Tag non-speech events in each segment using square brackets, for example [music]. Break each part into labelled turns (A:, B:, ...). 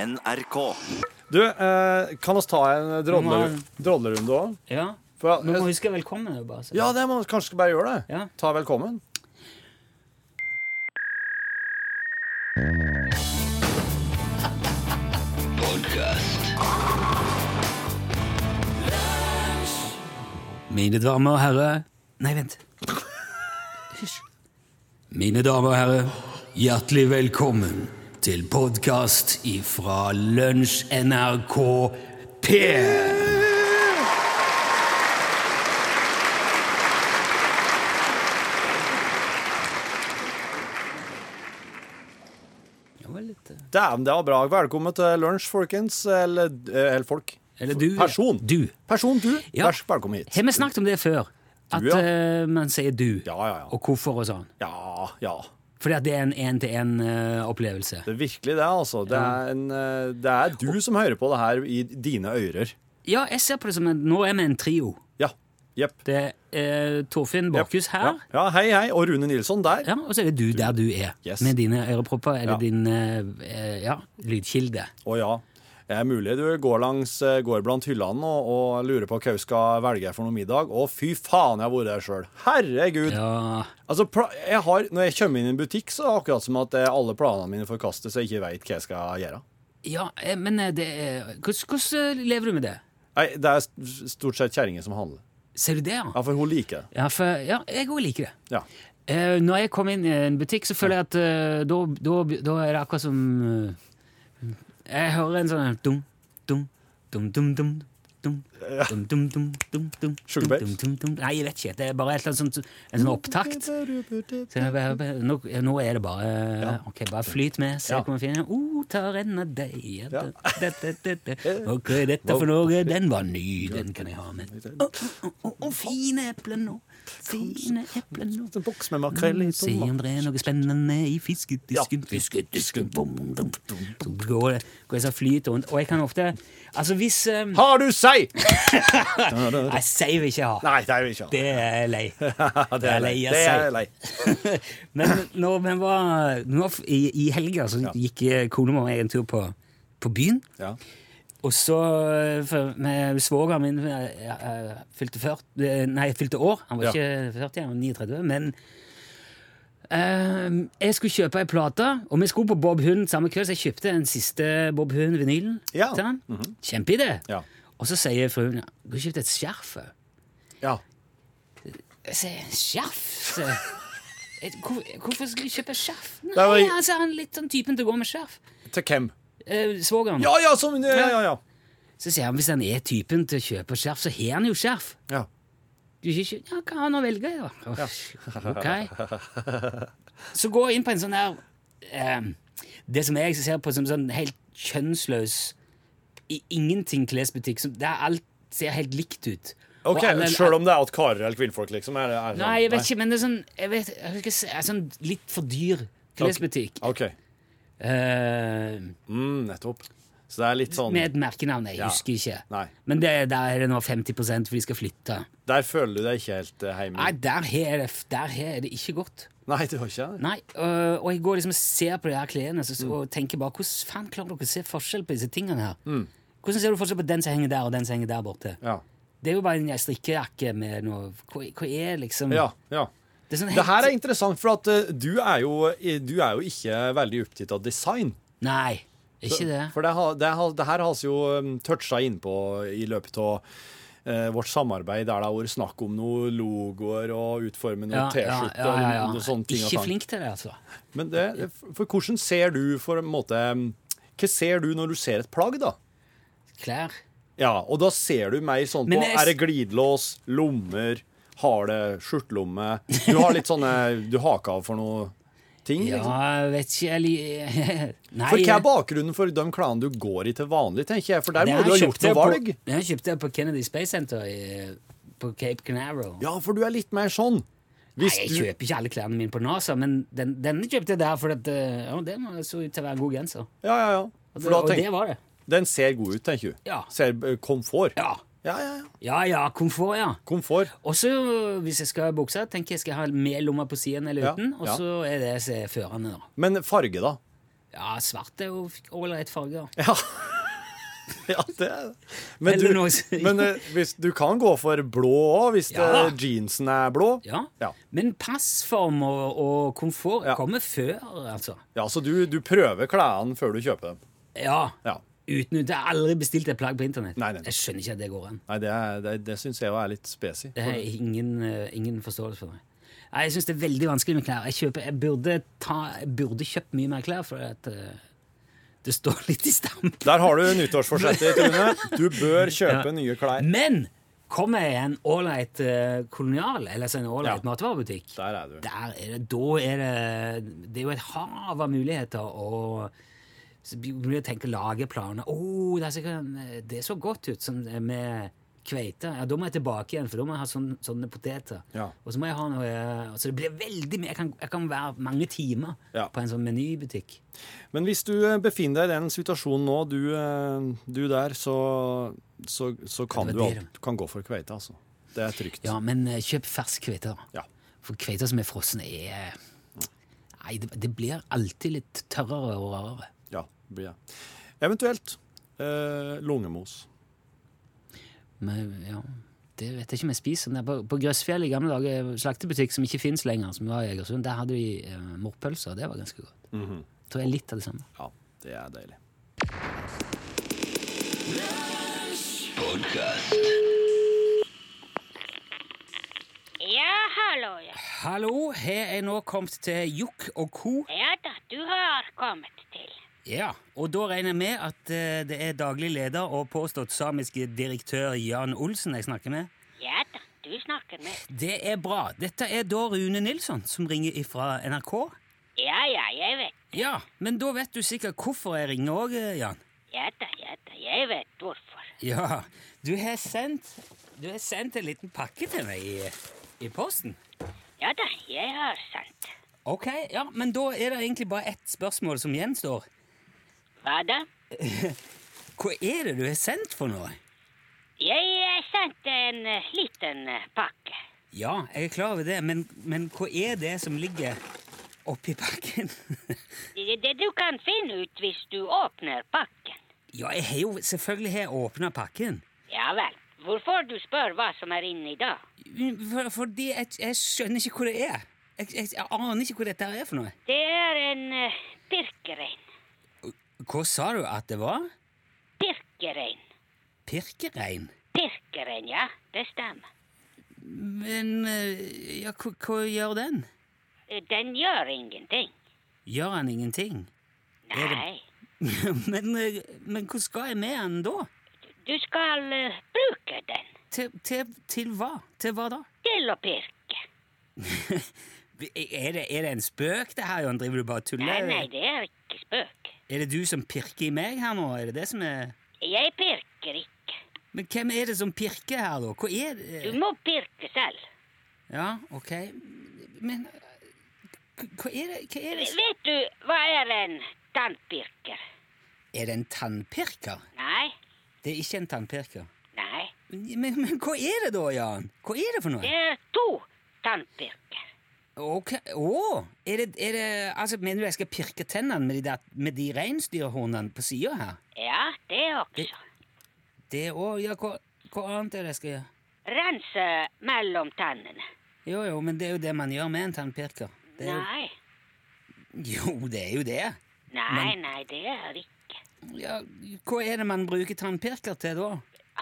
A: NRK.
B: Du, eh, kan oss ta en drodlerunde drodlerunde òg?
C: Ja. Du må huske velkommen. jo, Bare, så.
B: Ja, det må vi kanskje bare gjøre det.
C: Ja.
B: Ta velkommen.
C: Mine damer og herrer Nei, vent. Hysj. Mine damer og herrer, hjertelig velkommen til podkast ifra Lunsj NRK P. Det var litt, eh,
B: Dæven, det var bra. Velkommen til lunsj, folkens. Eller, eh, eller folk.
C: Eller du.
B: Person.
C: Du.
B: Person, du.
C: Ja.
B: Vær så velkommen hit.
C: Har vi snakket om det før? At
B: ja.
C: eh, man sier du,
B: Ja, ja, ja.
C: og hvorfor og sånn.
B: Ja, ja.
C: Fordi at det er en eh, én-til-én-opplevelse.
B: Det er virkelig det, altså. Det er, en, eh, det er du som hører på det her i dine ører.
C: Ja, jeg ser på det som en, Nå er vi en trio.
B: Ja. Jepp.
C: Det er eh, Torfinn
B: Jepp.
C: Borchhus
B: Ja.
C: her,
B: ja, hei, hei. Og Rune Nilsson der.
C: ja. og så er det du der du er.
B: Yes.
C: Med dine ørepropper, eller
B: Ja.
C: din eh, eh, ja, lydkilde.
B: Å ja. Det er mulig du går langs eh, Går blant hyllene og, og lurer på hva jeg skal velge for noe middag. Å, fy faen, jeg har vært der sjøl. Herregud.
C: Ja,
B: Altså, pla- jeg har, Når jeg kommer inn i en butikk, så er det akkurat som at eh, alle planene mine forkastes, og jeg ikke veit hva jeg skal gjøre.
C: ja eh, men eh, det er hvordan, hvordan eh, lever du med det?
B: Nei, Det er st- stort sett kjerringa som handler.
C: Ser du det, ja?
B: Ja, For hun liker det.
C: Ja, for, ja jeg òg liker det.
B: Ja.
C: Eh, når jeg kommer inn i en butikk, så føler jeg at eh, da, da, da er det akkurat som eh, Jeg hører en sånn dum, dum, dum, dum, dum. Dum, dum, dum, dum, dum, dum,
B: Sugar
C: dum,
B: Babes?
C: dum, dum. Nei, jeg vet ikke. Det er bare et eller annet sånt, en sånn opptakt. Så jeg bare, nå, nå er det bare Ok, bare flyt med. Se
B: Ja.
C: hvor man finner Å, oh, tar en av deg
B: Ja.
C: det, det, det, det. Ok, dette for noe. Den var ny. Den kan jeg ha med. Å, å, å, å, fine epler nå. Fine epler nå.
B: En boks med makrell i
C: Se
B: tomat.
C: om det er noe spennende i fiskedisken. Fiskedisken bom, dum, dum. Så går det går jeg så flyter rundt. Og jeg kan ofte Altså, hvis eh,
B: Har du sei?!
C: Jeg sier vi ikke ha.
B: Nei, det er jo ikke han.
C: Det er jeg lei.
B: [laughs] Det er lei.
C: jeg
B: Det
C: sier.
B: er lei.
C: [laughs] Men når vi var nå f- i, i helga, så
B: Ja.
C: gikk eh, kona mi og jeg en tur på, på byen.
B: Ja.
C: Og så eh, for, med svogeren min eh, eh, fylte, 40, eh, nei, fylte år. Han var
B: Ja.
C: ikke 40, han var 39. Men eh, jeg skulle kjøpe ei plate, og vi skulle på Bob Hund samme kveld, så jeg kjøpte den siste Bob Hund-vinylen
B: Ja. Mhm.
C: til han. Kjempeidé!
B: Ja.
C: Og så sier fruen ja, du har kjøpt et skjerf. eh.
B: ja.
C: Jeg sier skjerf? sier jeg. Jeg, hvor, hvorfor skulle jeg kjøpe skjerf? Nei,
B: var-
C: altså, han er litt sånn typen til å gå med skjerf.
B: Til hvem?
C: Eh, svogeren.
B: Ja ja, som Ja ja ja.
C: Så sier han hvis han er typen til å kjøpe skjerf, så har han jo skjerf.
B: ja.
C: Du ikke kjø- Ja, hva har han å velge, da? Åh, Ok. Så gå inn på en sånn her eh, Det som jeg ser på som sånn helt kjønnsløs i ingenting klesbutikk, som, der alt ser helt likt ut. Og
B: OK,
C: alle-
B: sjøl om det er at karer eller kvinnfolk, liksom? Er det, er det
C: Nei, jeg vet ikke, men det er sånn, jeg vet, jeg vet ikke, si- er sånn litt for dyr klesbutikk.
B: OK.
C: Eh,
B: Mm, nettopp. Så det er litt sånn
C: med et merkenavn. Jeg
B: Ja.
C: husker ikke.
B: Nei.
C: Men det, der er det nå 50 for de skal flytte.
B: Der føler du deg ikke helt eh, hjemme.
C: Nei, der har det, der har det ikke godt.
B: Nei, du har ikke det?
C: Nei, øh, og jeg går liksom og ser på de her klærne så,
B: Mm.
C: så- og tenker bare hvordan faen klarer dere å se forskjell på disse tingene her? Hvordan ser du forskjell på den som henger der, og den som henger der borte?
B: Mm. Ja.
C: Det er jo bare en strikkejakke med noe Hva, hva er liksom
B: ja. ja.
C: Det er sånn helt
B: Det her er interessant, for at eh, du er jo, du er jo ikke veldig opptatt av design.
C: Nei, ikke det.
B: For det, har- det, har- det her har vi jo um, toucha innpå i løpet av eh, vårt samarbeid, der det har vært snakk om noen logoer og utforme noen T-skjorter og noen sånne ting. og
C: Ikke
B: tang.
C: flink til det, altså.
B: Men det, for hvordan ser du for en måte um, Hva ser du når du ser et plagg, da?
C: Klær.
B: Ja, og da ser du mer sånn på
C: Men jeg-
B: Er det glidelås, lommer, har det skjortelomme Du har litt sånne Du haker av for noe ting, liksom.
C: Ja, jeg vet ikke jeg li- [laughs] Nei.
B: For hva er bakgrunnen for de klærne du går i til vanlig, tenker jeg? For der må du ha gjort noe valg.
C: Det her kjøpte jeg på Kennedy Space Center i, på Cape Canaveral.
B: Ja, for du er litt mer sånn. Hvis
C: Nei,
B: du,
C: jeg kjøper ikke alle klærne mine på NASA, men den, denne kjøpte jeg der fordi at, eh, ja, den var- så ut til å være en god genser.
B: ja, ja, ja.
C: Og det,
B: For da
C: og det
B: tenk,
C: var det.
B: den ser god ut, tenker du.
C: Ja.
B: Ser eh, komfort.
C: Ja.
B: ja, ja. ja.
C: ja ja, komfort, ja.
B: Komfort.
C: Og så, hvis jeg skal ha bukser, tenker jeg skal jeg ha med lomma på siden eller
B: Ja,
C: uten. Og
B: ja.
C: så er det som er førende, da.
B: Men farge, da?
C: Ja, svart er jo ålreit farge. da.
B: Ja. [laughs] ja, det er det. Men,
C: Eller
B: du,
C: noe som-
B: men eh, hvis, du kan gå for blå òg, hvis
C: Ja.
B: eh, jeansen er blå.
C: Ja.
B: Ja.
C: Men passform og, og komfort
B: Ja.
C: kommer før, altså.
B: Ja, Så du, du prøver klærne før du kjøper dem.
C: Ja.
B: Ja.
C: Uten ut. Jeg har aldri bestilt et plagg på internett.
B: Nei, nei, nei.
C: Jeg skjønner ikke at det går an.
B: Nei, Det, er- det, det syns jeg jo er litt spesi.
C: Det har jeg ingen, eh, ingen forståelse for. Meg. Nei, jeg syns det er veldig vanskelig med klær. Jeg, kjøper, jeg, burde, ta, jeg burde kjøpt mye mer klær, for at, eh, det står litt i stamp.
B: Der har du
C: [laughs]
B: nyttårsforsettet, Trine. Du bør kjøpe nye klær.
C: Men kommer jeg i en ålreit eh, kolonial, eller altså en ålreit
B: Ja.
C: matvarebutikk,
B: Der er du.
C: der er det, da er det Det er jo et hav av muligheter å så begynner jeg å tenke lagerplaner. Å, det, er sikkert en- det så godt ut som det med kveite. Ja, da må jeg tilbake igjen, for da må jeg ha sånne, sånne poteter.
B: Ja.
C: Og så må jeg ha noe Så det blir veldig mye. Jeg kan, jeg kan være mange timer
B: Ja.
C: på en sånn menybutikk.
B: Men hvis du eh, befinner deg i den situasjonen nå, du, eh, du der, så, så, så kan
C: Det
B: du,
C: var
B: alt-
C: dyr.
B: du kan gå for kveite, altså. Det er trygt.
C: Ja, men eh, kjøp fersk kveite, da.
B: Ja.
C: For kveiter som er frosne, er Nei, det, det blir alltid litt tørrere og rarere.
B: Ja, det blir jeg. Eventuelt eh, lungemos.
C: Men ja, det vet jeg ikke om jeg spiser. Men på, på Grøssfjell i gamle dager, eh, slaktebutikk som ikke fins lenger, som var i Egersund, der hadde de eh, morrpølser, og det var ganske godt. Tror jeg er litt av det samme.
B: Ja, det er deilig.
A: Ja, hallo, ja.
C: Hallo, har jeg nå kommet til Jokk og co.
A: Ja da, du har kommet til.
C: Ja, og da regner jeg med at eh, det er daglig leder og påstått samiske direktør Jan Olsen jeg snakker med.
A: Ja da, du snakker med.
C: Det er bra. Dette er da Rune Nilsson som ringer ifra NRK.
A: Ja, ja, jeg vet.
C: Ja, men da vet du sikkert hvorfor jeg ringer òg, Jan.
A: Ja da, ja da, jeg vet hvorfor.
C: Ja, du har sendt Du har sendt en liten pakke til meg i, i posten.
A: Ja da, jeg har sant.
C: Ok, ja, men da er det egentlig bare ett spørsmål som gjenstår.
A: Hva da?
C: Hva er det du har sendt for noe?
A: Jeg eh, sendte en eh, liten eh, pakke.
C: Ja, jeg er klar over det, men, men hva er det som ligger oppi pakken? [laughs]
A: Det, det du kan finne ut hvis du åpner pakken.
C: ja, jeg har jo selvfølgelig har jeg åpna pakken.
A: Ja vel, hvorfor du spør hva som er inni da?
C: For, fordi jeg, jeg skjønner ikke hva det er. Jeg, jeg, jeg aner ikke hva dette her er for noe.
A: Det er en eh, pirkerein.
C: Hva sa du at det var?
A: Pirkerein.
C: Pirkerein?
A: Pirkerein, ja, det stemmer.
C: Men eh, ja, hva, hva gjør den?
A: Eh, Den gjør ingenting.
C: Gjør han ingenting? [laughs] Er det-
A: Nei.
C: men, eh, men hva skal jeg med han da?
A: Du skal eh, bruke den
C: Til, til, til hva? Til [laughs] hva da?
A: til å pirke.
C: Er det, er det en spøk, det her, Jon? Driver du bare og tuller?
A: Nei, nei, det er ikke spøk.
C: Er det du som pirker i meg her nå? Er det det som er
A: Jeg pirker ikke.
C: Men hvem er det som pirker her, da? Hva er
A: Du
C: det?
A: må pirke selv.
C: Ja, ok. Men eh, hva er det, hva er det som-
A: Vet du hva er en tannpirker?
C: Er det en tannpirker?
A: Nei,
C: Det er ikke en tannpirker.
A: nei.
C: Men, men, men hva er det da, Jan? Hva er det for noe?
A: Det er to tannpirker.
C: Ok, Å! Er det, er det Altså, mener du jeg skal pirke tennene med de, der- med de reinsdyrhornene på sida her?
A: Ja, det også.
C: Det òg? Ja, hva, hva annet er det jeg skal gjøre?
A: Rense mellom tannene.
C: Jo, jo, men det er jo det man gjør med en tannpirker. Det er
A: Nei,
C: [laughs] jo, jo, det er jo det.
A: nei, nei, det er ikke.
C: Ja, hva er det man bruker tannpirker til da?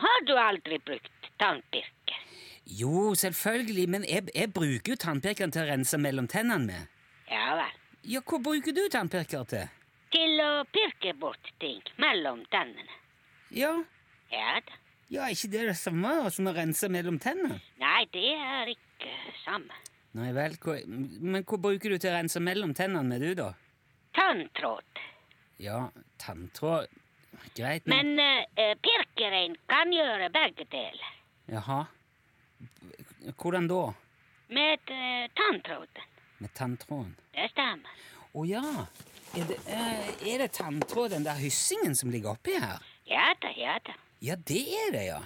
A: Har du aldri brukt tannpirker?
C: Jo, selvfølgelig, men jeg, jeg bruker jo tannpirkeren til å rense mellom tennene med.
A: Ja vel.
C: Ja, hva bruker du tannpirker til?
A: Til å pirke bort ting mellom tannene.
C: Ja,
A: Ja da.
C: ja, er ikke det det samme som å rense mellom tennene?
A: Nei, det er ikke samme.
C: Nei vel, hva, men hva bruker du til å rense mellom tennene med du da?
A: Tanntråd.
C: Ja, tanntråd, greit. men-
A: Men eh, eh, pirkerein kan gjøre begge deler.
C: Jaha. Hvordan da?
A: Med eh, tanntråden.
C: Med tanntråden?
A: Det stemmer.
C: Å ja. Er det, eh, er det tanntråd, den der hyssingen som ligger oppi her?
A: Ja da, ja da.
C: Ja, det er det, ja.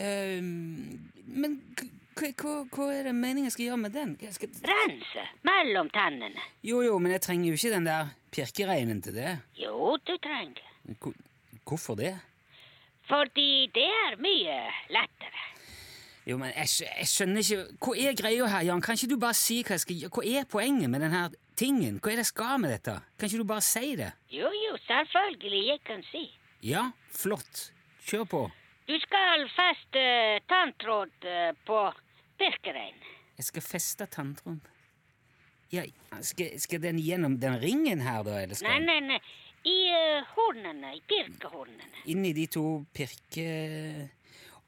C: Ehm, men k- Hva, hva, hva er det meningen jeg skal gjøre med den? Jeg skal...
A: Rense mellom tennene.
C: Jo, jo, men jeg trenger jo ikke den der pirkereinen til det.
A: Jo, du trenger.
C: Hvor- Hvorfor det?
A: Fordi det er mye lettere.
C: Jo, men jeg, skj- jeg skjønner ikke Hva er greia her, Jan? Kan ikke du bare si hva jeg skal gjøre? Hva er poenget med denne tingen? Hva er det jeg skal med dette? Kan ikke du bare si det?
A: Jo, jo, selvfølgelig, jeg kan si.
C: Ja, flott. Kjør på.
A: Du skal feste tanntråd eh, på Birkerein.
C: Jeg skal feste tanntråden ja, skal, skal den gjennom den ringen her, da? Eller
A: Nei,
C: skal den
A: nei, nei. I eh, hornene, i pirkehornene.
C: inn i de to pirke...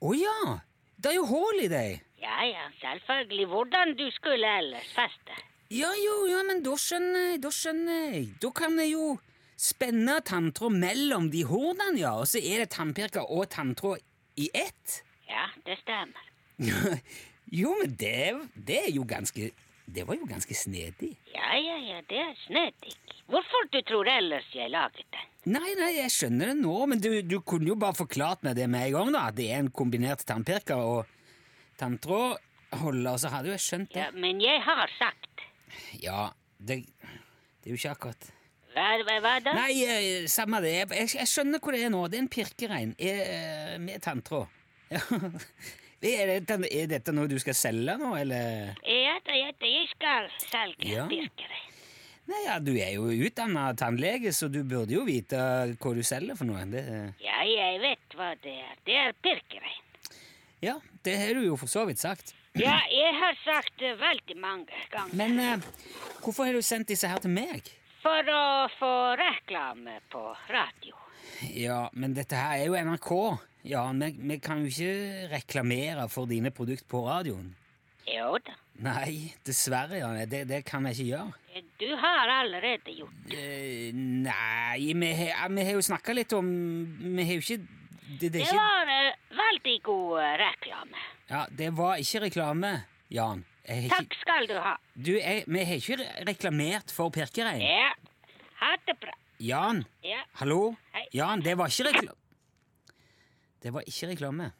C: Å ja! Det er jo hull i dem!
A: Ja, ja, selvfølgelig. Hvordan du skulle ellers feste.
C: Ja jo, ja, men da skjønner jeg, da skjønner jeg. Da kan jeg jo spenne tanntråd mellom de hornene, ja, og så er det tannpirker og tanntråd i ett. [laughs]
A: Ja, det stemmer.
C: jo, men det, det er jo ganske Det var jo ganske snedig.
A: Ja, ja, ja, det er snedig. Hvorfor du tror ellers jeg laget den?
C: Nei, nei, jeg skjønner det nå, men du, du kunne jo bare forklart meg det med en gang, da. At det er en kombinert tannpirker og tanntrådholder, så hadde jo jeg skjønt det.
A: Ja, men jeg har sagt.
C: Ja, det, det er jo ikke akkurat
A: Hva, hva, hva da?
C: Nei, eh, samme det. Jeg, jeg- jeg skjønner hvor det er nå. Det er en pirkerein eh, med tanntråd. [laughs] Ja. er, dette, er dette noe du skal selge nå, eller?
A: Ja, da, ja, da, jeg skal selge
C: Ja.
A: Birkerein.
C: Nei, ja, Du er jo utdanna tannlege, så du burde jo vite hva du selger for noe. Det,
A: Ja, jeg vet hva det er. Det er Birkerein.
C: ja, det har du jo for så vidt sagt.
A: Ja, jeg har sagt det veldig mange ganger.
C: Men eh, hvorfor har du sendt disse her til meg?
A: For å få reklame på radio.
C: Ja, men dette her er jo NRK. Ja, vi, vi kan jo ikke reklamere for dine produkter på radioen.
A: Jo da.
C: Nei, dessverre. Janne. Det, det kan jeg ikke gjøre.
A: Du har allerede gjort det.
C: Eh, nei, vi har, vi har jo snakka litt om Vi har jo ikke Det, det, er
A: Det
C: ikke,
A: var eh, veldig god eh, reklame.
C: ja, det var ikke reklame, Jan. Jeg har ikke,
A: Takk skal du ha.
C: du, jeg, vi har ikke re- reklamert for Pirkerein.
A: Ja. Ha det bra.
C: Jan,
A: Ja.
C: hallo?
A: Hei.
C: Jan, det var ikke reklame. Det var ikke reklame.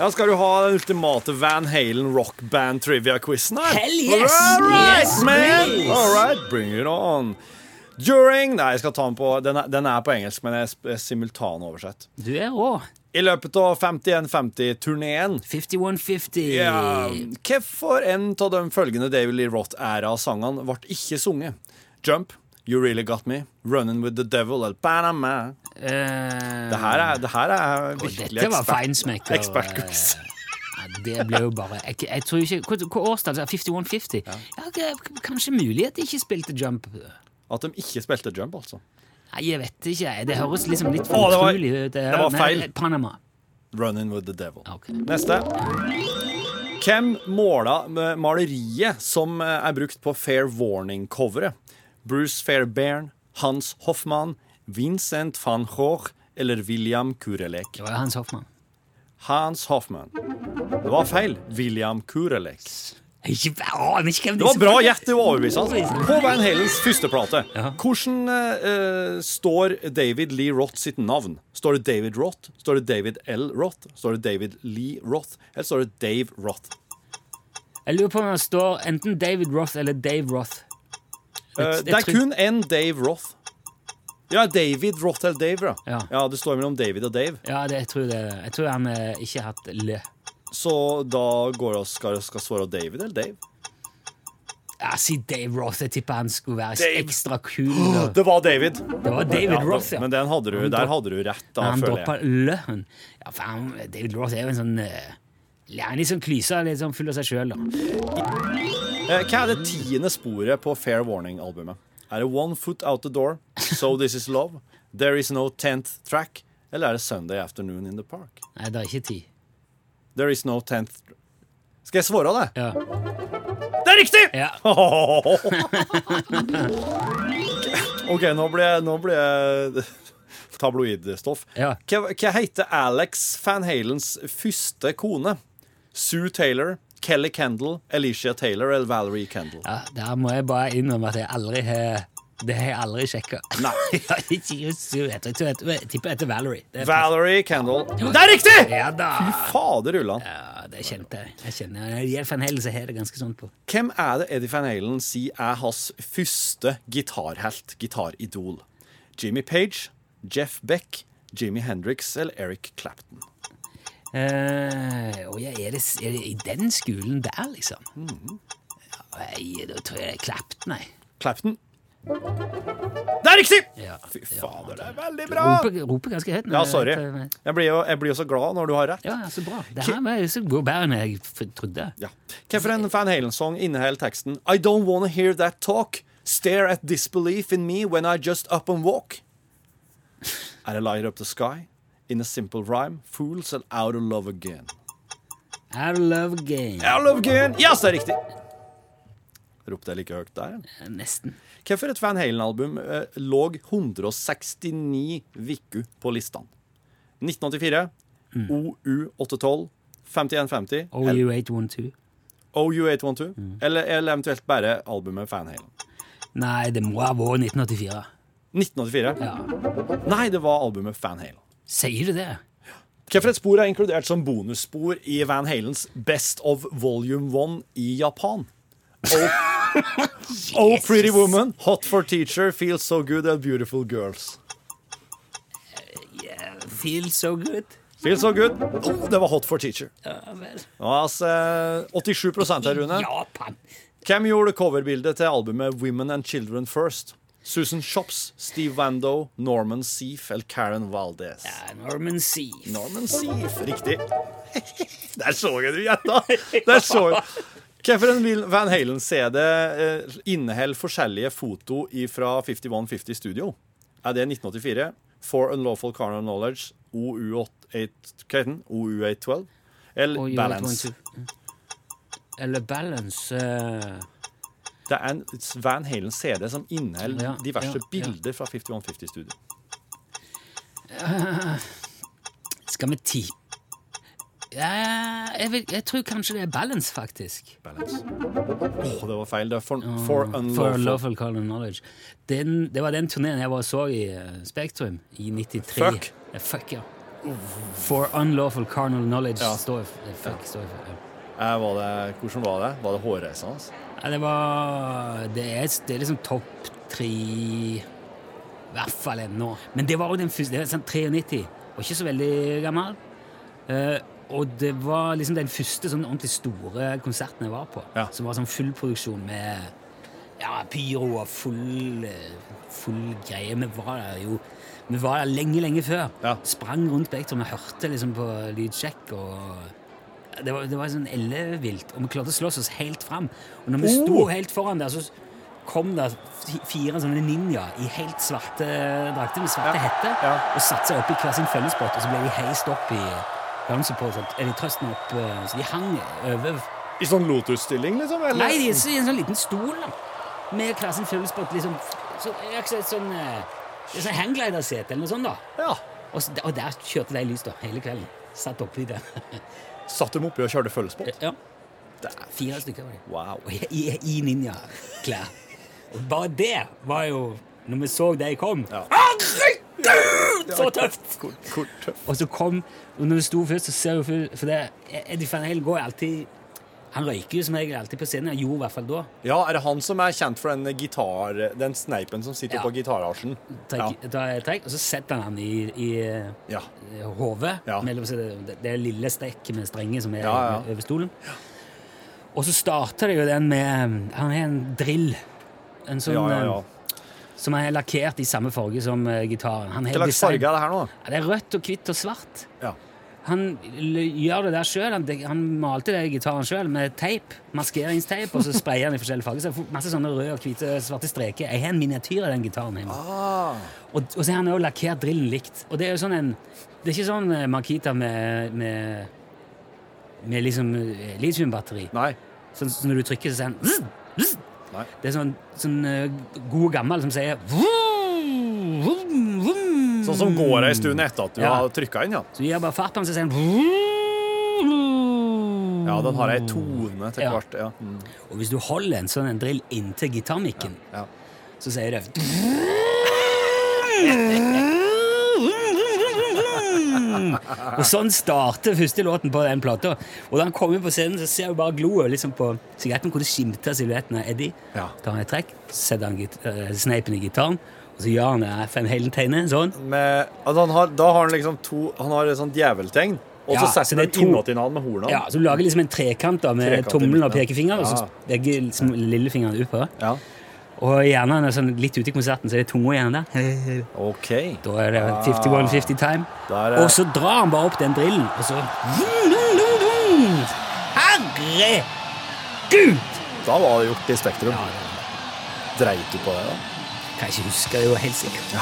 B: Ja, skal du ha den ultimate Van Halen rock band trivia-quizen her?
C: Hell yes!
B: All right,
C: Yes,
B: man!
C: please!
B: All right, bring it on. During Nei, jeg skal ta den på Den er, den er på engelsk, men jeg er simultanoversett.
C: Du er rå.
B: I løpet av 51-50-turneen
C: 5150.
B: ja, Hvorfor um, en av de følgende David Lee Roth-æra-sangene ble ikke sunget? Jump, You Really Got Me, Running With The Devil eller Panama.
C: Eh,
B: Det her er, det her er
C: og
B: virkelig
C: dette var feinsmekker.
B: ekspertquiz.
C: Ja, det ble jo bare jeg, jeg tror ikke, Hva, hva årstall er det? 5150? Ja. k- kanskje mulig at de ikke spilte jump. eh, Nei,
B: At de ikke spilte jump, altså.
C: jeg vet ikke. jeg. Det høres liksom litt
B: Å,
C: for
B: det var-
C: utrolig ut.
B: det var
C: Nei,
B: feil.
C: Panama.
B: Running With The Devil.
C: Ok.
B: Neste. Hvem måla eh, maleriet som eh, er brukt på Fair Warning-coveret? Bruce Fairbairn, Hans Hoffmann, Vincent van Gogh eller William Kurelek?
C: Det var jo Hans Hoffmann.
B: Hans Hoffmann. Det var feil. William Kurelek.
C: Ikke, å, jeg vet ikke hvem
B: Det var
C: disse-
B: bra gjett. Det var overbevisende. altså. På Van Halens første plate.
C: Ja.
B: Hvordan eh, står David Lee Roth sitt navn? Står det David Roth? Står det David L. Roth? Står det David Lee Roth? Eller står det Dave Roth?
C: Jeg lurer på om det står enten David Roth eller Dave Roth.
B: Eh,
C: Jeg- jeg
B: det er
C: tror-
B: kun én Dave Roth. Ja, David Roth eller Dave,
C: Ja.
B: ja. ja. Det står mellom David og Dave.
C: Ja, det, jeg tror det. Jeg tror han eh, ikke har hatt lø.
B: Så da går det, skal, skal svare David eller Dave?
C: Ja, si Dave Roth. Jeg tipper han skulle være
B: Dave.
C: ekstra kul. da.
B: Det var David.
C: Det var David
B: Ja,
C: Roth, ja.
B: Men den hadde du, der hadde du rett, da,
C: han
B: føler jeg.
C: droppa løen. Ja, for han, David Roth er jo en sånn eh, Han er litt sånn klysa, litt sånn full av seg sjøl.
B: Eh, Hva er det tiende sporet på Fair Warning-albumet? Er det One Foot Out The Door, So This Is Love, There Is No Tenth Track, eller er det Sunday Afternoon In The Park?
C: Nei, det er ikke ti.
B: There Is No Tenth Skal jeg svare det?
C: Ja.
B: Det er riktig!
C: Ja.
B: OK, nå ble, nå ble jeg [laughs] tabloidstoff.
C: Ja.
B: Hva, hva heter Alex Van Halens første kone? Sue Taylor, Kelly Kendall, Alicia Taylor eller Valerie Kendall.
C: Ja, der må jeg bare innrømme at jeg aldri har Det har jeg aldri sjekka. [laughs]
B: Nei.
C: jeg har ikke just- jeg vet- jeg tror jeg- jeg tipper etter Valerie. Det er-
B: Valerie Kendall. Det er riktig!
C: Ja da!
B: Fader ullan.
C: Ja, det kjente jeg. Jeg kjenner jeg. I hvert fall en hel så har jeg det ganske sånn på.
B: Hvem er det Eddie Van Halen sier er hans første gitarhelt, gitaridol? Jimmy Page, Jeff Beck, Jimmy Hendrix eller Eric Clapton?
C: Eh, og jeg er, det, er det i den skolen der, liksom? Ja, jeg, da tror jeg det er Clapton, jeg.
B: Clapton. Det er riktig!
C: Ja.
B: Fy
C: Ja,
B: fader, det er veldig bra!
C: Roper, roper ganske høyt. når
B: Ja,
C: jeg-
B: sorry.
C: for-
B: Jeg blir jo, jeg blir jo så glad når du har rett.
C: Ja, ja, så bra. Det her var jo så god bedre enn jeg f- trodde.
B: Ja. Hvilken Van Halen-sang inneholder teksten I don't wanna hear that talk. Stare at disbelief in me when I just up and walk. Er det Light Up The Sky? In a simple rhyme? Fools and out of love again.
C: I love game.
B: Out of love again! Ja, så er det riktig! Ropte jeg like høyt der?
C: Nesten.
B: Hvorfor et Van Halen-album eh, lå 169 uker på listene? 1984, OU812, 5150 eller
C: OU812.
B: OU812, eller, eller eventuelt bare albumet Van Halen.
C: Nei, det må ha vært 1984.
B: 1984?
C: Ja.
B: Nei, det var albumet Van Halen.
C: Sier du det?
B: Hvilket spor er inkludert som bonusspor i Van Halens Best of Volume 1 i Japan?
C: [laughs]
B: Oh, oh Pretty Woman, Hot for Teacher, Feels So Good and Beautiful Girls.
C: Feel so good.
B: Feels So Good. Oh, det var Hot for Teacher.
C: Ja vel.
B: Det var Altså, 87 her, Rune.
C: Japan.
B: Hvem gjorde coverbildet til albumet Women and Children First? Susan Shops, Steve Wando, Norman Seaf eller Karen Valdez?
C: Ja, Norman Seaf.
B: Norman Seaf. Riktig. [laughs] Der så jeg du gjetta! Der så jeg. Hvorfor en Vil- Van Halen-CD eh, inneholder forskjellige foto fra 5150 Studio? Er det 1984? For Unlawful Carnal Knowledge, OU812? OU812
C: Og
B: eller
C: You're
B: Balance?
C: One Two. Eller Balance eh,
B: Det er en Van Halen-CD som inneholder
C: Ja,
B: diverse
C: ja, ja.
B: bilder fra 5150 Studio.
C: Skal vi ti? Ja, jeg, vil, jeg tror kanskje det er Balance, faktisk. Mm,
B: Balance. Åh, det var feil. Det er For, for
C: For
B: Unlawful
C: Love and Call and Knowledge. Den, det var den turneen jeg var og så i eh, Spektrum i 93.
B: Fuck.
C: Ja, fuck, ja. For Unlawful Carnal Knowledge
B: Ja.
C: står for. eh, Fuck står for. ja.
B: Eh, var det, Hvordan var det? Var det hårreisende? Altså?
C: Ja, det var Det er, det er liksom topp tre I hvert fall ennå. Men det var jo den første. Det var sånn 93. Og ikke så veldig gammel. Eh, og det var liksom den første sånn ordentlig store konserten jeg var på.
B: Ja.
C: Som var sånn fullproduksjon med ja, pyro og full, eh, full greie. Vi var der jo vi var der lenge, lenge før.
B: Ja.
C: Sprang rundt Spektrum og hørte liksom på lydsjekk og det var, det var sånn ellevilt, og vi klarte å slåss oss helt fram. Og når vi
B: Oh!
C: sto helt foran der, så kom det fi- fire sånne ninjaer i helt svarte drakter med svarte
B: Ja,
C: hetter
B: ja.
C: og satte seg opp i hver sin fellespott, og så ble de heist opp i Groundsupporten, eller trøsten opp, eh, så de hang over.
B: I sånn Lotus-stilling, liksom? Eller?
C: Nei, de er så- i en sånn liten stol da, med hver sin fellespott, liksom, så, jeg har ikke sett sånn, eh, det er sånn hangglidersete eller noe sånt da.
B: Ja.
C: Og, så, og der kjørte de lys da, hele kvelden. Satt oppi det.
B: Satt dem oppi og kjørte følgespott?
C: [laughs] ja.
B: Det er-
C: Fire stykker var det.
B: [laughs] Wow.
C: Og i, i ninjaklær. Og bare det var jo Når vi så de kom
B: Ja.
C: Herregud, så tøft!
B: Hvor, hvor tøff.
C: Og så kom og Når vi sto først, så ser vi for, for det, Eddie Van Halen går alltid Han røyker jo som regel alltid på scenen. Han gjorde i hvert fall da.
B: Ja, er det han som er kjent for den gitar... Den sneipen som sitter
C: Ja.
B: på gitarasjen? Ja.
C: Trekk, da er trekk, og så setter han han i, i eh,
B: ja.
C: hodet
B: Ja.
C: mellom seg, det, det lille strekket med strengen som er
B: Ja, ja.
C: over stolen. Og så starter det jo den med Han har en drill. En sånn
B: Ja, ja, ja.
C: eh, Som er lakkert i samme farge som eh, gitaren. Han har
B: Hva slags
C: design-
B: farge er det her nå?
C: Ja, det er rødt og hvitt og svart.
B: Ja.
C: Han l- gjør det der sjøl. Han, dek- han malte det i gitaren sjøl med teip, maskeringsteip, og så sprayer han i forskjellige farger. Så jeg får masse sånne røde og hvite svarte streker. Jeg har en miniatyr av den gitaren hjemme.
B: Ah.
C: Og, og så har han også lakkert drillen likt. Og det er jo sånn en Det er ikke sånn eh, Makita med, med med liksom eh, litiumbatteri.
B: Nei.
C: Sånn som når du trykker, så sier han zzz, zzz.
B: Nei.
C: Det er sånn, sånn eh, god gammel som sier vroom, vroom, vroom.
B: Sånn som går ei stund etter at du
C: Ja.
B: har trykka inn, ja.
C: Så gir jeg bare fart på den, så sier han vroom, vroom.
B: Ja, den har ei tone til
C: Ja.
B: hvert. Ja. Mm.
C: Og hvis du holder en sånn en drill inntil gitarmikken,
B: ja.
C: så sier det Og sånn starter første låten på den plata. Og da han kommer på scenen, så ser du bare gloet liksom på sigaretten, hvor det skimter silhuetten av Eddie.
B: Ja.
C: Tar han et trekk, setter han git eh, sneipen i gitaren, og så gjør han det FM-heltegnet sånn.
B: Med, altså han har, da har han liksom to Han har et sånt djeveltegn, og
C: Ja,
B: så
C: så
B: setter han
C: det er to-
B: innåtinnaden med hornene.
C: Ja, så du lager liksom en trekant da, med
B: Trekant i
C: tommelen og
B: midten, ja.
C: pekefingeren,
B: Ja.
C: og så legger liksom lillefingeren ut på.
B: Ja.
C: Og gjerne når sånn litt ute i konserten, så er det tunga igjen der.
B: OK.
C: Da er det 51-50 time.
B: Der er-
C: Og så drar han bare opp den drillen, og så Herregud!
B: Da var det gjort i Spektrum. Dreit du på det, da?
C: Kan ikke huske det jo helt sikkert.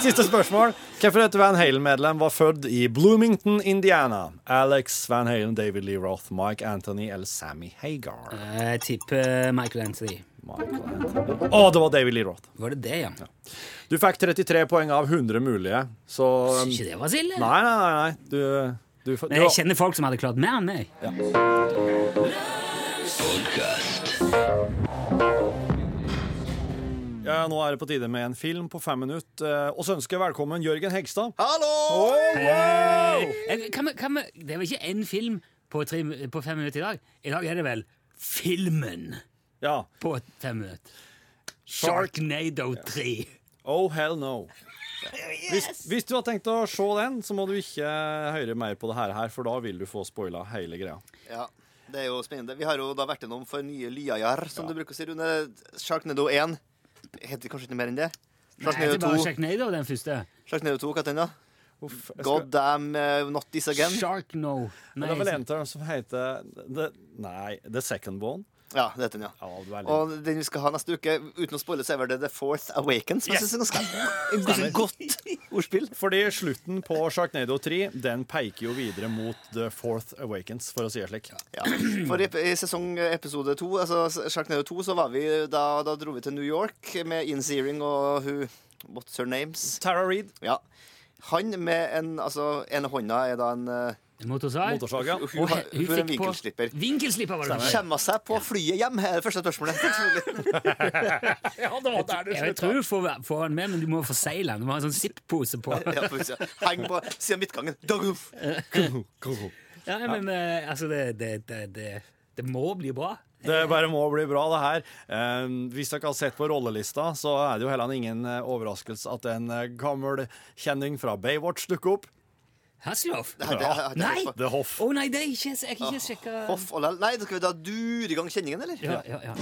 B: Siste spørsmål. Hvorfor et Van Halen-medlem var født i Bloomington, Indiana? Alex Van Halen, David Lee Roth, Mike Anthony eller Sammy Hagar?
C: Eh, Jeg tipper Michael Anthony.
B: Michael Anthony. Å, det var David Lee Roth.
C: Var det det, ja?
B: Du fikk 33 poeng av 100 mulige, så um,
C: Syns ikke det var så ille.
B: Nei, nei, nei. nei. Du, du, du,
C: Men jeg kjenner folk som hadde klart mer enn meg.
B: ja, Nå er det på tide med en film på fem minutter. eh, Og så ønsker jeg velkommen Jørgen Hegstad.
D: Hallo!
C: Jeg- Kan vi, kan vi, det var ikke én film på, tre, på fem minutter i dag. I dag er det vel Filmen
B: Ja.
C: på fem minutter. Sharknado 3.
B: Oh, hell no.
D: [laughs]
B: Hvis, hvis du har tenkt å se den, så må du ikke høre mer på det her, her, for da vil du få spoila hele greia.
D: Ja, det er jo spennende. Vi har jo da vært gjennom for nye lyajar, som du bruker å si, Rune. Sharknado 1. Heter det kanskje ikke mer enn det?
C: Nei, det er
D: Sharknado
C: bare
D: 2.
C: Sharknado, den første.
D: Sharknado 2, hva heter den da?
B: Uff, jeg
D: God
B: skal,
D: damn eh, not this again.
C: Sharkno.
B: men det er
C: Nei,
B: vel en av dem som heter the, Nei, The Second Bone.
D: Ja, det heter den, ja.
B: Ja, det er litt.
D: Og den vi skal ha neste uke, uten å spoile, så er vel det The Fourth Awakens. Men jeg synes det er ganske ganske godt ordspill.
B: [laughs] Fordi slutten på Sharknado 3 den peker jo videre mot The Fourth Awakens, for å si det slik.
D: Ja. For i, i sesong episode to, altså Sharknado 2, så var vi da, da dro vi til New York med Insearing og hun What's her names?
B: Tara Reid,
D: Ja. Han med en Altså, ene hånda er da en eh,
C: Motorsag.
B: motorsaga.
D: Hun, hun, har- hun er en vinkelslipper.
C: Vinkelslipper var det du sa.
D: Kjemma seg på flyet hjem, er det første spørsmålet. [laughs]
B: Ja, det var der
C: Jeg tror du får, får den med, men du må forsegle den. Du må ha en sånn zip-pose på.
D: Ja, på utsida. Heng på siden av midtgangen. Daguf!
B: [laughs]
C: Ja, men eh, altså, det, det, det, det, det må bli bra.
B: Det bare må bli bra, det her. Eh, hvis dere har sett på rollelista, så er det jo heller ingen eh, overraskelse at en eh, gammel kjenning fra Baywatch dukker opp.
C: Hasselhoff?
D: Nei, det har jeg ikke
C: Nei!
D: tenkt på.
B: The Hoff.
C: Å nei, det er ikke, jeg har ikke sjekka
D: Hoff og lell. Nei, da skal vi da dure i gang kjenningen, eller?
C: ja, ja, ja.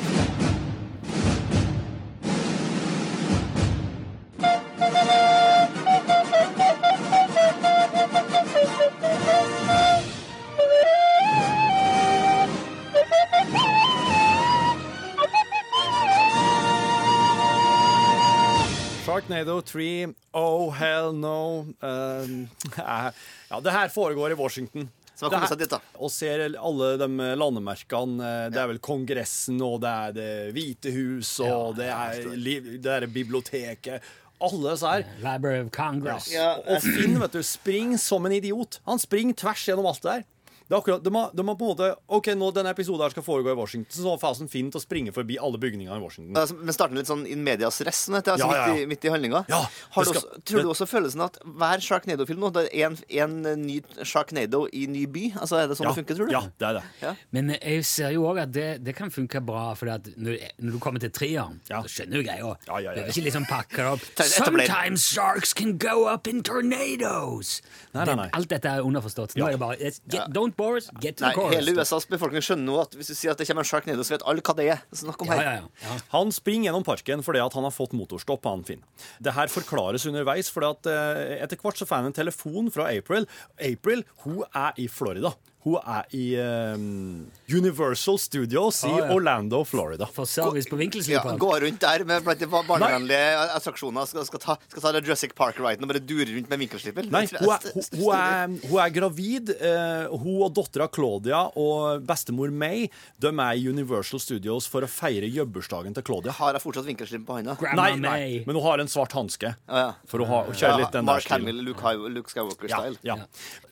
B: Sharknado 3, Oh Hell No eh, Ja, det her foregår i Washington.
D: Så man kommer
B: Det her-
D: seg dit, da.
B: Og ser alle de landemerkene. eh, Det er vel Kongressen, og det er Det hvite hus, og det er, li- det er biblioteket. Alle disse her.
C: Library of Congress.
D: Ja,
B: Og Finn vet du, springer som en idiot. Han springer tvers gjennom alt det der. Det er akkurat, de har, de har på en måte, ok, nå Denne episoden her skal foregå i Washington, så nå får Fasen Finn til å springe forbi alle bygningene i Washington.
D: Altså, Men starten litt sånn in medias res, som det heter, altså
B: Ja, ja, ja.
D: Midt, i, midt i handlinga.
B: Ja,
D: Har
B: det
D: du
B: skal-
D: også, tror du også følelsen at hver Sharknado-film nå, det er en, en ny Sharknado i ny by? Altså, Er det sånn
B: Ja,
D: det funker, tror du?
B: ja, det er det.
C: Men jeg ser jo òg at det, det kan funke bra, for at når, når du kommer til treeren,
B: Ja.
C: så skjønner du greia.
B: Ja, ja, ja,
C: Du
B: ja.
C: vil ikke liksom pakke det opp.
D: Ta et etterblad.
C: Sometimes sharks can go up in tornadoes!
B: Nei, nei, nei.
C: Det- Alt dette er underforstått. Nå
B: Ja.
C: er det bare it's- Don't Boris, get to
D: Nei,
C: the chorus.
D: hele USAs befolkning skjønner nå at hvis du sier at det kommer en sjarknado, så vet alle hva det er. Snakk om
C: Ja,
D: her.
C: ja, ja. ja.
B: Han springer gjennom parken fordi at han har fått motorstopp. han Finn. Det her forklares underveis, fordi at eh, etter hvert så får han en telefon fra April. April hun er i Florida. Hun er i eh, Universal Studios i
C: Ah, ja.
B: Orlando, Florida.
C: For service
D: Ja,
C: på vinkelslipa.
D: gå rundt der med blant de barnevennlige attraksjoner. Skal, skal, ta, skal ta det Jurassic Park-riden og bare dure rundt med vinkelsliper.
B: Nei,
D: Det tror
B: hun
D: jeg
B: er, hun, hun er, hun er gravid. eh, hun og dattera Claudia og bestemor May de er i Universal Studios for å feire jobbursdagen til Claudia.
D: Har jeg fortsatt vinkelslipp på handa?
C: Grandma
B: Nei, nei,
C: May.
B: men hun har en svart hanske.
D: ja.
B: For hun, har, hun kjører litt den der
D: Mark
B: stilen.
D: Hamill, Luke, Hy- Luke Skywalker-style.
B: Ja, ja.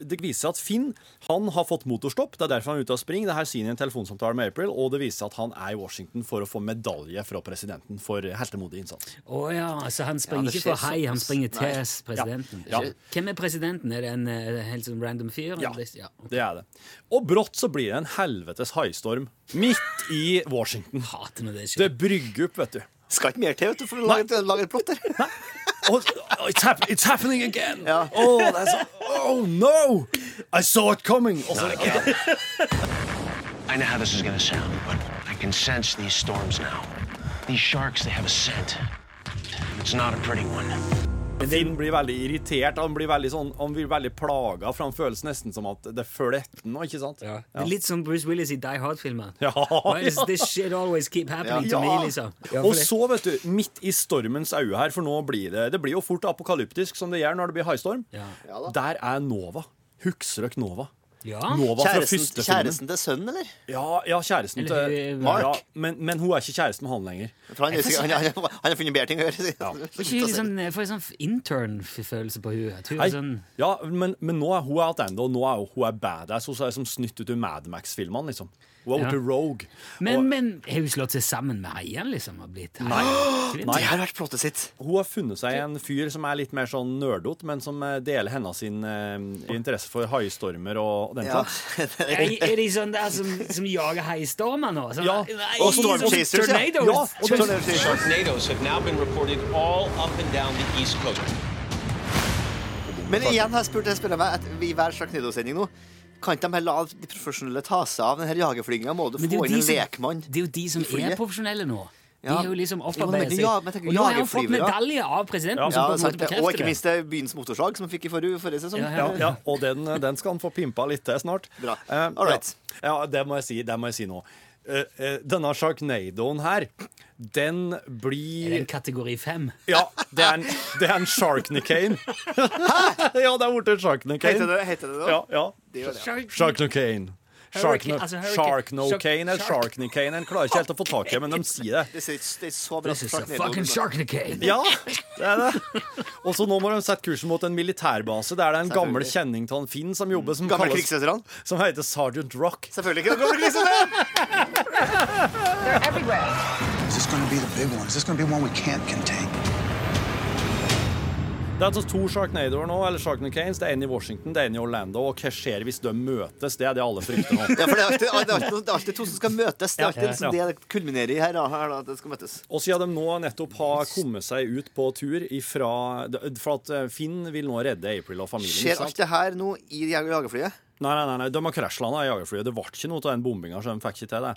B: Det viser seg at Finn han har fått motorstopp. Det er derfor han er ute og springer. Det her sier han i en telefonsamtale med April, og det viser seg at han er i Washington for å få medalje fra presidenten for heltemodig innsats.
C: Å ja, så han
D: Ja,
C: springer
D: det
C: ikke for
D: skjer
C: hei, han
D: såpass.
C: springer til
D: Nei.
C: presidenten.
B: sånn. Ja. Ja.
C: Hvem er presidenten? Er det en eh, helt sånn random fyr?
B: Ja,
C: Eller- ja.
B: det er det. Og brått så blir det en helvetes haistorm midt i Washington.
C: Hater når det
B: Det
C: skjer.
B: brygger opp, vet du.
D: Skal ikke mer til vet du, for å lage, et- lage et plott der.
B: Oh, oh, it's, hap it's happening again!
D: Ja.
B: Oh, det er så, oh no! I saw it coming! Og så,
E: I know how this is gonna sound, but I can sense these storms now. These sharks, they have a scent. It's not a pretty one.
B: Finn blir veldig irritert. Han blir veldig, sånn, han blir veldig plaga, for han føles nesten som at det følger etter nå, ikke sant?
C: Ja. Det er Litt som Bruce Willis i Die Hard-filmer.
B: Ja,
C: Why does
B: ja.
C: this shit always keep happening to me, liksom? Ja, for
B: og
C: det-
B: så, vet du, midt i stormens øye her, for nå blir det Det blir jo fort apokalyptisk, som det gjør når det blir haistorm.
C: Ja.
B: Der er Nova. Huksrøk Nova.
C: Ja.
B: Nova fra
D: Ah, Kjæresten,
B: første filmen.
D: kjæresten til sønnen, eller?
B: Ja, ja, kjæresten
C: Eller,
B: til
C: eh,
D: Mark.
B: Ja, men, men hun er ikke kjæresten med han lenger.
D: For han, er sikkert- han, han, han har funnet bedre ting å gjøre. [laughs]
C: Ikke litt sånn, jeg får en sånn intern-følelse på henne. At hun
B: Nei,
C: er sånn
B: ja, men, men nå er hun attende, og nå er hun- hun er badass. Hun er som snytt ut av Mad Max-filmene, liksom. Hun er
C: Ja.
B: blitt rogue.
C: Men,
B: og,
C: men har hun slått seg sammen med eieren, liksom? Og blitt
B: Nei.
D: Det har vært plottet sitt.
B: Hun har funnet seg en fyr som er litt mer sånn nerdot, men som eh, deler hennes sin eh, interesse for haistormer og den
D: Ja.
B: slags.
C: Er,
D: [laughs]
C: er de sånn der som, som jager heistormer nå? Sånn,
B: Ja,
C: nei,
D: og storm
C: sånn
D: chasers, ja.
C: tornadoes.
B: Ja, og det-
D: Sånn er det.
F: Tornadoes have now been reported all up and down the East Coast.
D: Men igjen har jeg spurt, jeg spør meg at i hver Sjarknido-sending nå kan ikke de her la de profesjonelle ta seg av den her jagerflyginga? Må du
C: Men det er
D: få
C: jo
D: inn
C: de
D: en
C: som,
D: lekmann?
C: det er jo de som
D: i flyet.
C: er profesjonelle nå. De
D: Ja.
C: har jo liksom
D: Jo, men
C: opparbeidet
D: tenker
C: seg
D: jag- men tenker
C: Og nå har jo fått
D: jagerflyvere.
C: medalje av presidenten,
B: Ja.
C: som
D: Ja,
C: på en måte
D: sant, det. og
C: bekrefter
D: ikke
C: det.
D: minst det er byens motorslag, som vi fikk i forrige, forrige sesong.
C: Ja,
B: Ja, ja, og den, eh, den skal han få pimpa litt til snart.
D: Bra.
B: Eh,
D: All right.
B: ja. ja, det må jeg si, det må jeg si nå. Eh, eh, denne sjarknadoen her, den
C: Er det
B: blir
C: en kategori fem?
B: Ja, det er en, det er en sharknicane. [laughs] ja, det er blitt
D: Heter
B: en sharknicane.
D: det heter det, da?
B: Ja, ja.
D: det? gjør det, ja.
B: Sharknocane.
C: Hurricane-
B: Sharkno-
C: altså hurricane-
B: Sharknocane eller
C: shark-
B: sharknicane. En klarer ikke helt å få tak i, men de sier det.
D: Det ser- det er så bra
C: This is a
D: Sharknado.
C: fucking sharknicade.
B: Ja, det er det. Og så nå må de sette kursen mot en militærbase. Der det er en gammel kjenning til han Finn som jobber, som,
D: Gamle
B: kalles,
D: krigsveteran.
B: som heter Sergeant Rock.
D: Selvfølgelig ikke. Gamle
C: [laughs]
D: krigsveteran!
G: Is this going to be the big one? Is this going to be one we can't contain?
B: Det er altså to Sharknadoer nå, eller Sharknacanes. Det er en i Washington, det er en i Orlando. Og hva skjer hvis de møtes? Det er det alle frykter nå.
C: [laughs]
D: Ja, for det er, alltid, det, er alltid, det er alltid to som skal møtes. Det er alltid
B: Ja.
D: liksom det det kulminerer i her. da, her da, at det skal møtes.
B: Og siden de nå nettopp har kommet seg ut på tur ifra For at eh, Finn vil nå redde April og familien. ikke
D: Skjer
B: sant?
D: alt det her nå i jag- jagerflyet?
B: Nei, nei, nei, nei, de har krasjlanda i jagerflyet. Det ble ikke noe av den bombinga, så de fikk ikke til det.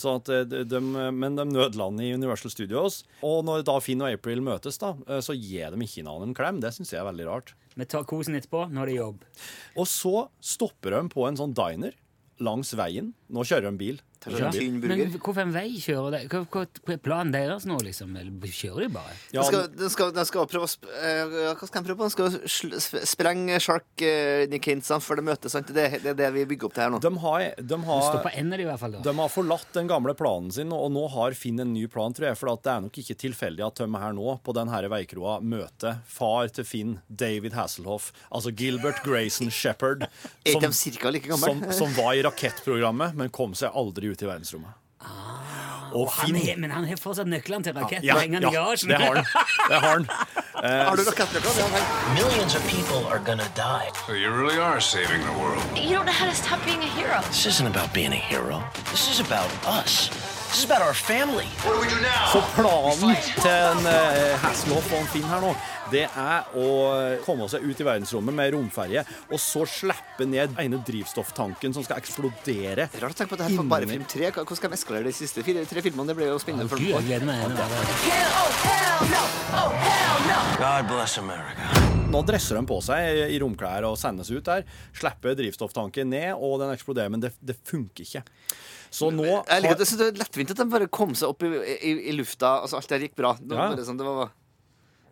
B: Så at eh, de, de, men de nødlander i Universal Studios. Og når da Finn og April møtes, da, eh, så gir de ikke hverandre en klem. Det syns jeg er veldig rart.
C: Vi tar kosen etterpå. Nå er det jobb.
B: Og så stopper de på en sånn diner langs veien. Nå kjører de bil. Nå
D: Det er
B: kjører
D: en
B: de bil.
D: tynn burger.
C: Men hvorfor en vei kjører de? Hva, hva, hva er planen deres nå, liksom? Eller kjører de bare?
B: Ja,
D: Den skal, den skal, den skal prøve å sp eh, Hva skal den prøve på? Den skal sl- sp- sprenge Shark uh, før de møtes. Sant? Det, det er det vi bygger opp til her nå.
B: de har, de
C: Stå
B: har
C: på enden av de i hvert fall, da.
B: de har forlatt den gamle planen sin, og nå har Finn en ny plan, tror jeg. For at det er nok ikke tilfeldig at de her nå, på denne veikroa, møter far til Finn, David Hasselhoff, altså Gilbert Grayson Shepherd,
D: [laughs] Er
B: som,
D: ikke de cirka like gamle?
B: som, som var i rakettprogrammet, men kom seg aldri ut i verdensrommet.
D: Ah,
B: Og
C: Han
B: Finn
C: er, men han har fortsatt nøklene til raketten
B: ja,
C: hengende
B: ja,
C: i garasjen.
B: det har han. Det har han.
D: Har du rakettnøkler? Ja, vel.
E: Millions of people are gonna die.
H: So you really are saving the world.
I: You don't know how to stop being a hero.
E: This isn't about being a hero. This is about us This is about our family.
B: Så planen til en eh, Hasselhoff og en Finn her nå, det er å komme seg ut i verdensrommet med romferje, og så slippe ned ene drivstofftanken som skal eksplodere.
D: Rart å tenke på at det her for bare film tre. Hvordan skal de eskalere de siste fire, tre filmene? Det blir jo spennende. for
C: [laughs] Gud, jeg gleder meg. ennå.
E: God bless America.
B: Nå dresser de på seg i romklær og sendes ut der. Slipper drivstofftanken ned, og den eksploderer, men det, det funker ikke. Så nå
D: Jeg liker at
B: har-
D: det, så det er lettvint at de bare kom seg opp i, i, i lufta. Altså, alt der gikk bra. Det var
B: Ja.
D: bare sånn, det var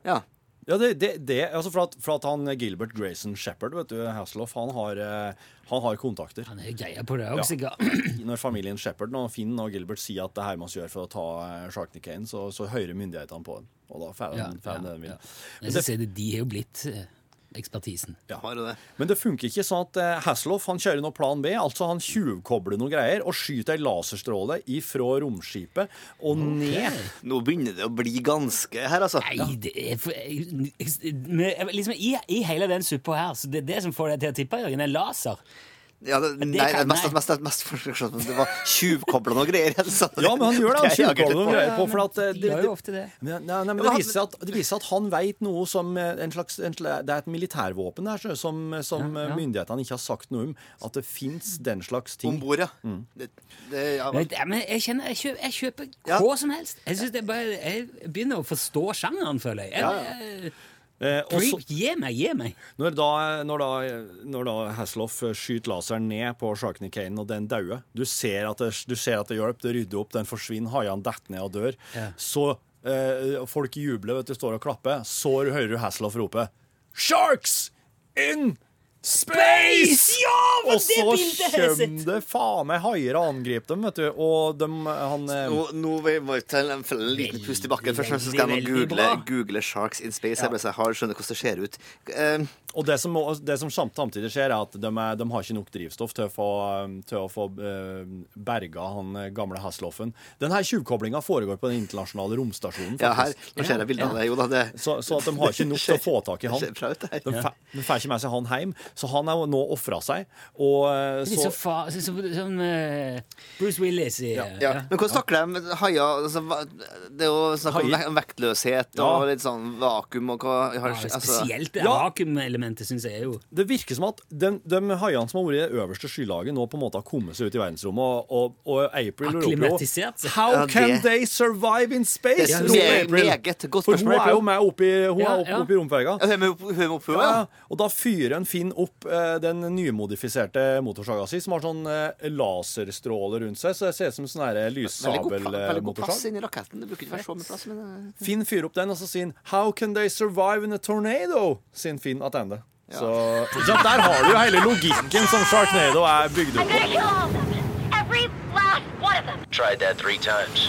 D: Ja.
B: Ja, det, det, det altså for, at, for at han Gilbert Grayson Shepherd, vet du, Hasselhoff, han har, eh, han har kontakter.
C: Han er jo greia på det òg,
B: Ja.
C: sikkert.
B: Når familien Shepherd og Finn og Gilbert sier at det her må vi gjøre for å ta eh, Sharknicane, så, så hører myndighetene på den. Og da får
C: Ja,
B: den får den det den
C: ja,
B: vil.
C: ja. Men så ser du, de er jo blitt eh, ekspertisen.
B: Ja.
D: Har jo det.
B: Men det funker ikke sånn at eh, Hasselhoff han kjører noe plan B. Altså han tjuvkobler noen greier og skyter ei laserstråle ifra romskipet og ned.
D: Nå begynner det å bli ganske her, altså.
C: Nei, det er for, jeg- jeg- men liksom, i, I hele den suppa her, så det er det som får deg til å tippe, Jørgen, er laser.
D: Ja, det,
C: det
D: nei, det
C: kan-
D: er mest,
C: nei.
D: mest, mest, mest, det var tjuvkobla noe greier. Altså.
B: Ja, men han
C: [laughs]
B: gjør det. Han
D: Jeg jager
B: tjuvkobler
D: litt
B: noen
D: på.
B: greier på. For at, eh,
C: De gjør jo ofte det.
B: Men, nei, nei, men
D: Men
B: det
D: han-
B: viser, at, det viser at han veit noe som eh, en slags, en, sla- Det er et militærvåpen der sjø, som, som eh, myndighetene ikke har sagt noe om. At det fins den slags ting.
D: Om bord, ja.
B: Mm.
D: Det, det, ja.
C: Men, ja, men jeg kjenner, jeg kjøper, jeg kjøper
D: Ja.
C: hva som helst. Jeg, synes det er bare, jeg begynner å forstå sjangeren, føler jeg. jeg,
B: Eh, og
C: jeg
B: så-
C: Freak, gi meg, gi meg.
B: Når da, når da, når da Hasselhoff eh, skyter laseren ned på Sharknicanen, og den dauer du, ser at det- du ser at det hjelper, det rydder opp, den forsvinner, haiene detter ned og dør. Så eh, folk jubler, vet du, står og klapper. Så hører du Hasselhoff rope 'Sharks in space!'
C: Ja, men
B: og
C: det
B: så
C: bildet har jeg
B: kommer det faen meg haier og angriper dem, vet du. Og dem, han eh,
D: Nå, nå vil jeg bare ta en, følge en liten pust i bakken først, men så skal jeg nå
C: Veldig, veldig
D: google,
C: bra.
D: google 'Sharks in Space'. Jeg bare så jeg har skjønner hvordan det ser ut. Eh,
B: Og det som, må- det som samt- samtidig skjer, er at de, er, de har ikke nok drivstoff til å få, um, til å få eh, berga han eh, gamle Hasselhoffen. Denne tjuvkoblinga foregår på den internasjonale romstasjonen.
D: ja, her,
B: faktisk.
D: nå ser jeg bildet av det. Jo da, det
B: Så, så at de har ikke nok til å få tak i han.
D: Det [laughs] ser bra ut, det her.
B: De, fe, de får ikke med seg han hjem, så han er jo nå ofra seg. Og eh,
C: Det er
B: så
C: så fa så, så, sånn eh, Bruce Willis i eh,
D: Ja. Men hvordan takler de haier? Altså, hva- det er jo snakk om
B: Haier?
D: vek- vektløshet
B: Ja.
D: og litt sånn vakuum og hva har,
C: ja,
D: altså,
C: Spesielt det
B: Ja.
C: vakuumelementet, syns jeg er jo
B: det virker som at de, de haiene som har vært i det øverste skylaget, nå på en måte har kommet seg ut i verdensrommet, og, og, og April roper jo
C: akklimatisert. seg.
B: How
D: Ja,
B: can
D: det-
B: they survive in space?
D: Det er
B: roper
D: meget-
B: April.
D: meget godt
B: For hun
D: spørsmål,
B: er jo
D: April.
B: med oppi, hun
C: Ja,
B: er opp,
C: ja.
B: oppi romferga.
D: Ja, Hører vi opp- hører vi opp hodet?
B: Ja, og da fyrer en Finn opp eh, den nymodifiserte motorsaga si, som har sånn eh, laserstråle rundt seg, så det ser ut som sånn her
D: Veldig god, pla- veldig god plass
B: lyssabelmotorsag.
D: inni raketten. Det bruker ikke være så mye plass, men eh,
B: Finn fyrer opp den, og så sier han 'How can they survive in a tornado?' sier Finn attende. Så, så der har du jo hele logikken som Sharknado er bygd opp på.
I: Every last one of them.
E: Tried that three times.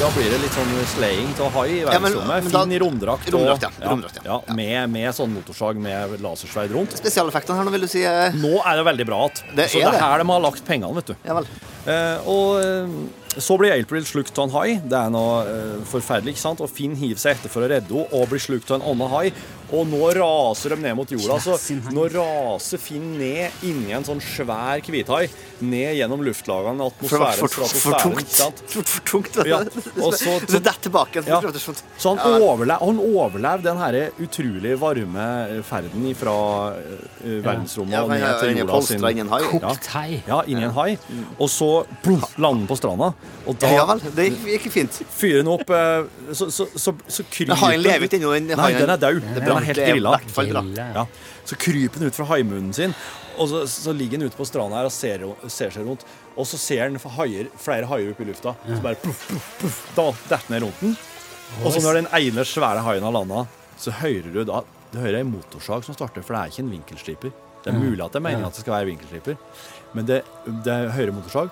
B: Da blir det litt sånn slaying av hai i
D: Ja, men-
B: verdensrommet.
D: men da-
B: Finn i romdrakt. og-
D: Romdrakt, ja. Romdrakt, ja.
B: ja, med, med sånn motorsag med lasersverd rundt.
D: Spesialeffektene her nå, vil du si? eh,
B: Nå er det veldig bra at
D: Det
B: Så
D: er
B: det er
D: det.
B: her de har lagt pengene, vet du.
D: Ja vel.
B: Eh, og eh, så blir April slukt av en hai. Det er noe eh, forferdelig, ikke sant? Og Finn hiver seg etter for å redde henne og blir slukt av en annen hai. Og nå raser de ned mot jorda. Så
C: Kjære sin hai.
B: nå raser Finn ned inni en sånn svær hvithai. Ned gjennom luftlagene,
D: For det var
B: atmosfæren,
D: for, for, for
B: stratosfæren.
D: tungt.
B: ikke sant?
D: For, for tungt.
B: Ja, og
D: Og så,
B: så-
D: så detter tilbake igjen.
B: Ja.
D: for det er sånn-
B: Så han
D: Ja, vel.
B: overlev, han overlevde den her utrolig varme ferden fra eh, verdensrommet
D: Ja,
B: og
D: men
B: ned
D: jeg er
B: til
D: inne i
B: jorda sin.
D: polstra inni en hai.
C: Kokt hai.
B: Ja, inni en hai. Og så plum, lander han på stranda. Og da
D: Ja vel, det gikk, gikk fint.
B: fyrer han opp eh, Så, så, så, så kryper
D: Men haien lever ikke ennå, den
B: Nei,
D: haien.
B: den er død.
D: Den er
B: Den er helt grilla.
D: i hvert fall dratt.
B: Ja. Så kryper han ut fra haimunnen sin, og så, så ligger han ute på stranda her og ser, ser seg rundt. Og så ser han haier, flere haier opp i lufta. Så bare pluff, pluff, pluff, da detter ned rundt den. Og så når den ene svære haien har landa, så hører du da Du hører ei motorsag som starter, for det er ikke en vinkelstriper. Det er mulig at det er meningen at det skal være vinkelstriper, men det, det er høyere motorsag.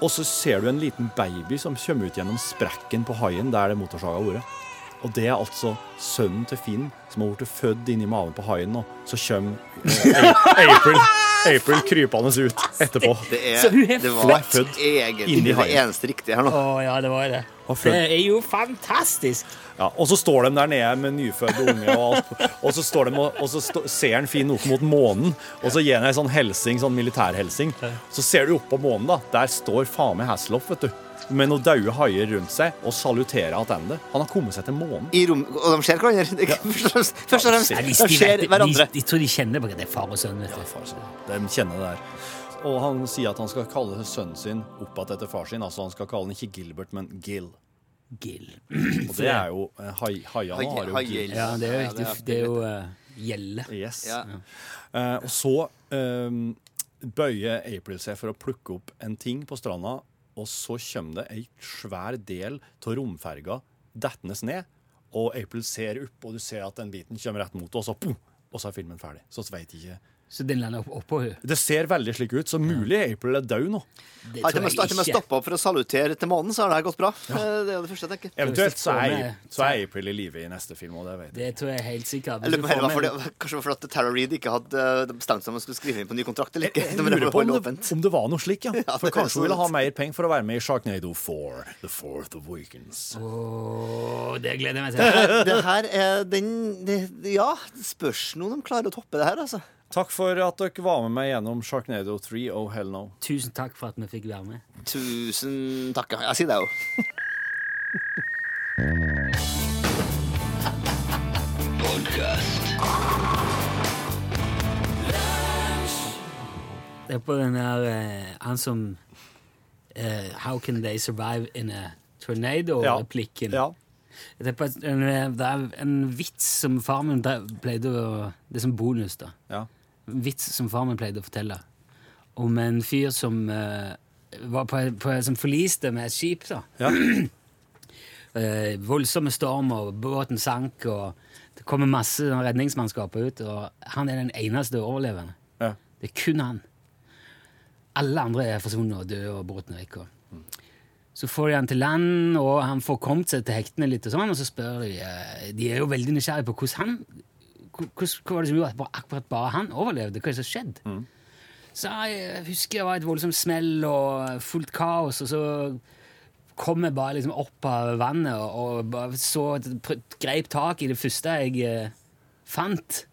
B: Og så ser du en liten baby som kommer ut gjennom sprekken på haien der det motorsaga har vært. Og det er altså sønnen til Finn som har blitt født inni maven på haien nå. Så kommer eh, A- April, April krypende ut etterpå.
D: Det er,
C: Så hun er
D: det
B: Hun
D: var
B: er født
D: egentlig
B: inn i
D: det
B: haien.
D: eneste riktige her nå.
C: Å ja, det var det.
B: Og full.
C: Det er jo fantastisk!
B: Ja, og så står de der nede med nyfødte unge og alt. Og så, står de, og, og så stå, ser han Finn opp mot månen, og så gir han ei sånn helsing, sånn militærhelsing. Så ser du opp på månen, da. Der står faen meg Hasselhoff, vet du. med noen daue haier rundt seg og saluterer tilbake. Han har kommet seg til månen.
D: I rom, og de ser hverandre. Det er ikke Først og fremst- først og fremst
B: Ja,
C: Hvis
D: de
C: de, vet,
D: ser
C: det-
D: hverandre.
C: de, de tror de kjenner på at det er far og sønn. Vet du.
B: altså. De kjenner det der. Og han sier at han skal kalle sønnen sin opp igjen etter far sin. Altså han skal kalle han ikke Gilbert, men Gil.
C: Gill.
B: Og det er jo eh, hai, Haiene
D: Hai-
B: har jo Gil.
D: haiel.
C: Ja, det er jo,
D: Ja,
C: det er jo eh, gjelle.
B: Yes.
D: Ja.
B: Eh, og så eh, bøyer April seg for å plukke opp en ting på stranda, og så kommer det ei svær del av romferga dettende ned. Og April ser opp, og du ser at den biten kommer rett mot henne, og så pum, og så er filmen ferdig. Så vet jeg ikke.
C: Så den lander opp, oppå henne.
B: Det ser veldig slik ut, så mulig April er død nå.
C: Det
D: Etter med etter med å stoppe opp for å salutere til månen, så er det her gått bra. Eh, Det er det første jeg tenker.
B: Eventuelt så er,
C: Hvis det
D: sånn,
B: så er April i live i neste film, og det vet jeg.
C: Det tror jeg helt sikkert.
D: Jeg lurer på om det var fordi, kanskje det var fordi at Tara Reid ikke hadde eh, bestemt seg om hun skulle skrive inn på ny kontrakt eller ikke.
B: Jeg
D: Men det
B: lurer
D: var
B: på
D: veldig
B: om det,
D: åpent.
B: om det var noe
D: [laughs]
B: slik, ja. For
D: det er
B: kanskje hun ville ha
D: sant.
B: mer penger for å være med i Sharknado 4, The Fourth of Weekends.
C: Åh, det gleder jeg meg til.
B: [laughs]
D: Det her er den det, Ja, det spørs nå om de klarer å toppe det her, altså.
B: Takk for at dere var med meg gjennom Sharknado 3, oh hell no.
C: Tusen takk for at vi fikk være med.
D: Tusen takk. ja. Jeg sier det jo.
C: Det er på den der eh, Han som eh, How can they survive in a tornado-replikken.
B: Ja.
C: Det, er på en, det er en vits som far min ble- pleide å Det er som bonus, da.
B: ja.
C: En vits som far min pleide å fortelle. Om en fyr som eh, var på, på, Som forliste med et skip, da.
B: ja.
C: [clears throat] eh, voldsomme stormer, båten sank, og det kommer masse sånn redningsmannskaper ut, og han er den eneste overlevende.
B: ja.
C: Det er kun han. Alle andre er forsvunnet og døde, og båten er vekk. og- Så får de han til land, og han får kommet seg til hektene litt, og sånn, og så spør de eh, De er jo veldig nysgjerrige på hvordan han hvordan- Hva var det som gjorde at bare, akkurat bare han overlevde? Hva er det som skjedde? Så jeg husker det var et voldsomt smell og fullt kaos, og så kom jeg bare liksom opp av vannet og, og bare så, pr- greip tak i det første jeg eh, fant.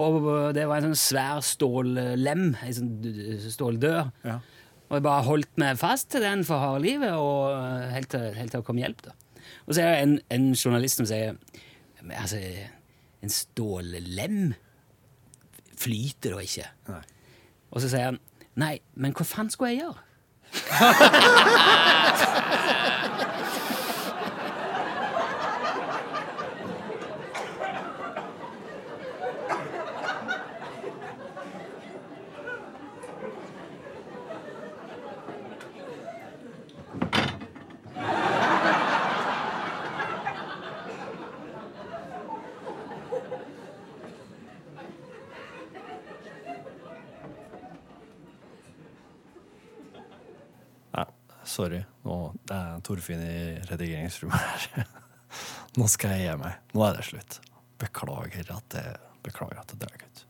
C: Og det var en sånn svær stållem, en sånn d- d- ståldør.
B: Ja.
C: Og jeg bare holdt meg fast til den for harde livet og eh, helt til, helt til det kom hjelp. da. Og så er det en, en journalist som sier «Men altså, en stållem flyter da ikke.
B: Nei.
C: Og så sier han Nei, men hva faen skulle jeg gjøre?
B: Nei, sorry. Nå, det er Torfinn i redigeringsrommet her. [laughs] Nå skal jeg gi meg. Nå er det slutt. Beklager at det Beklager at det drar ut.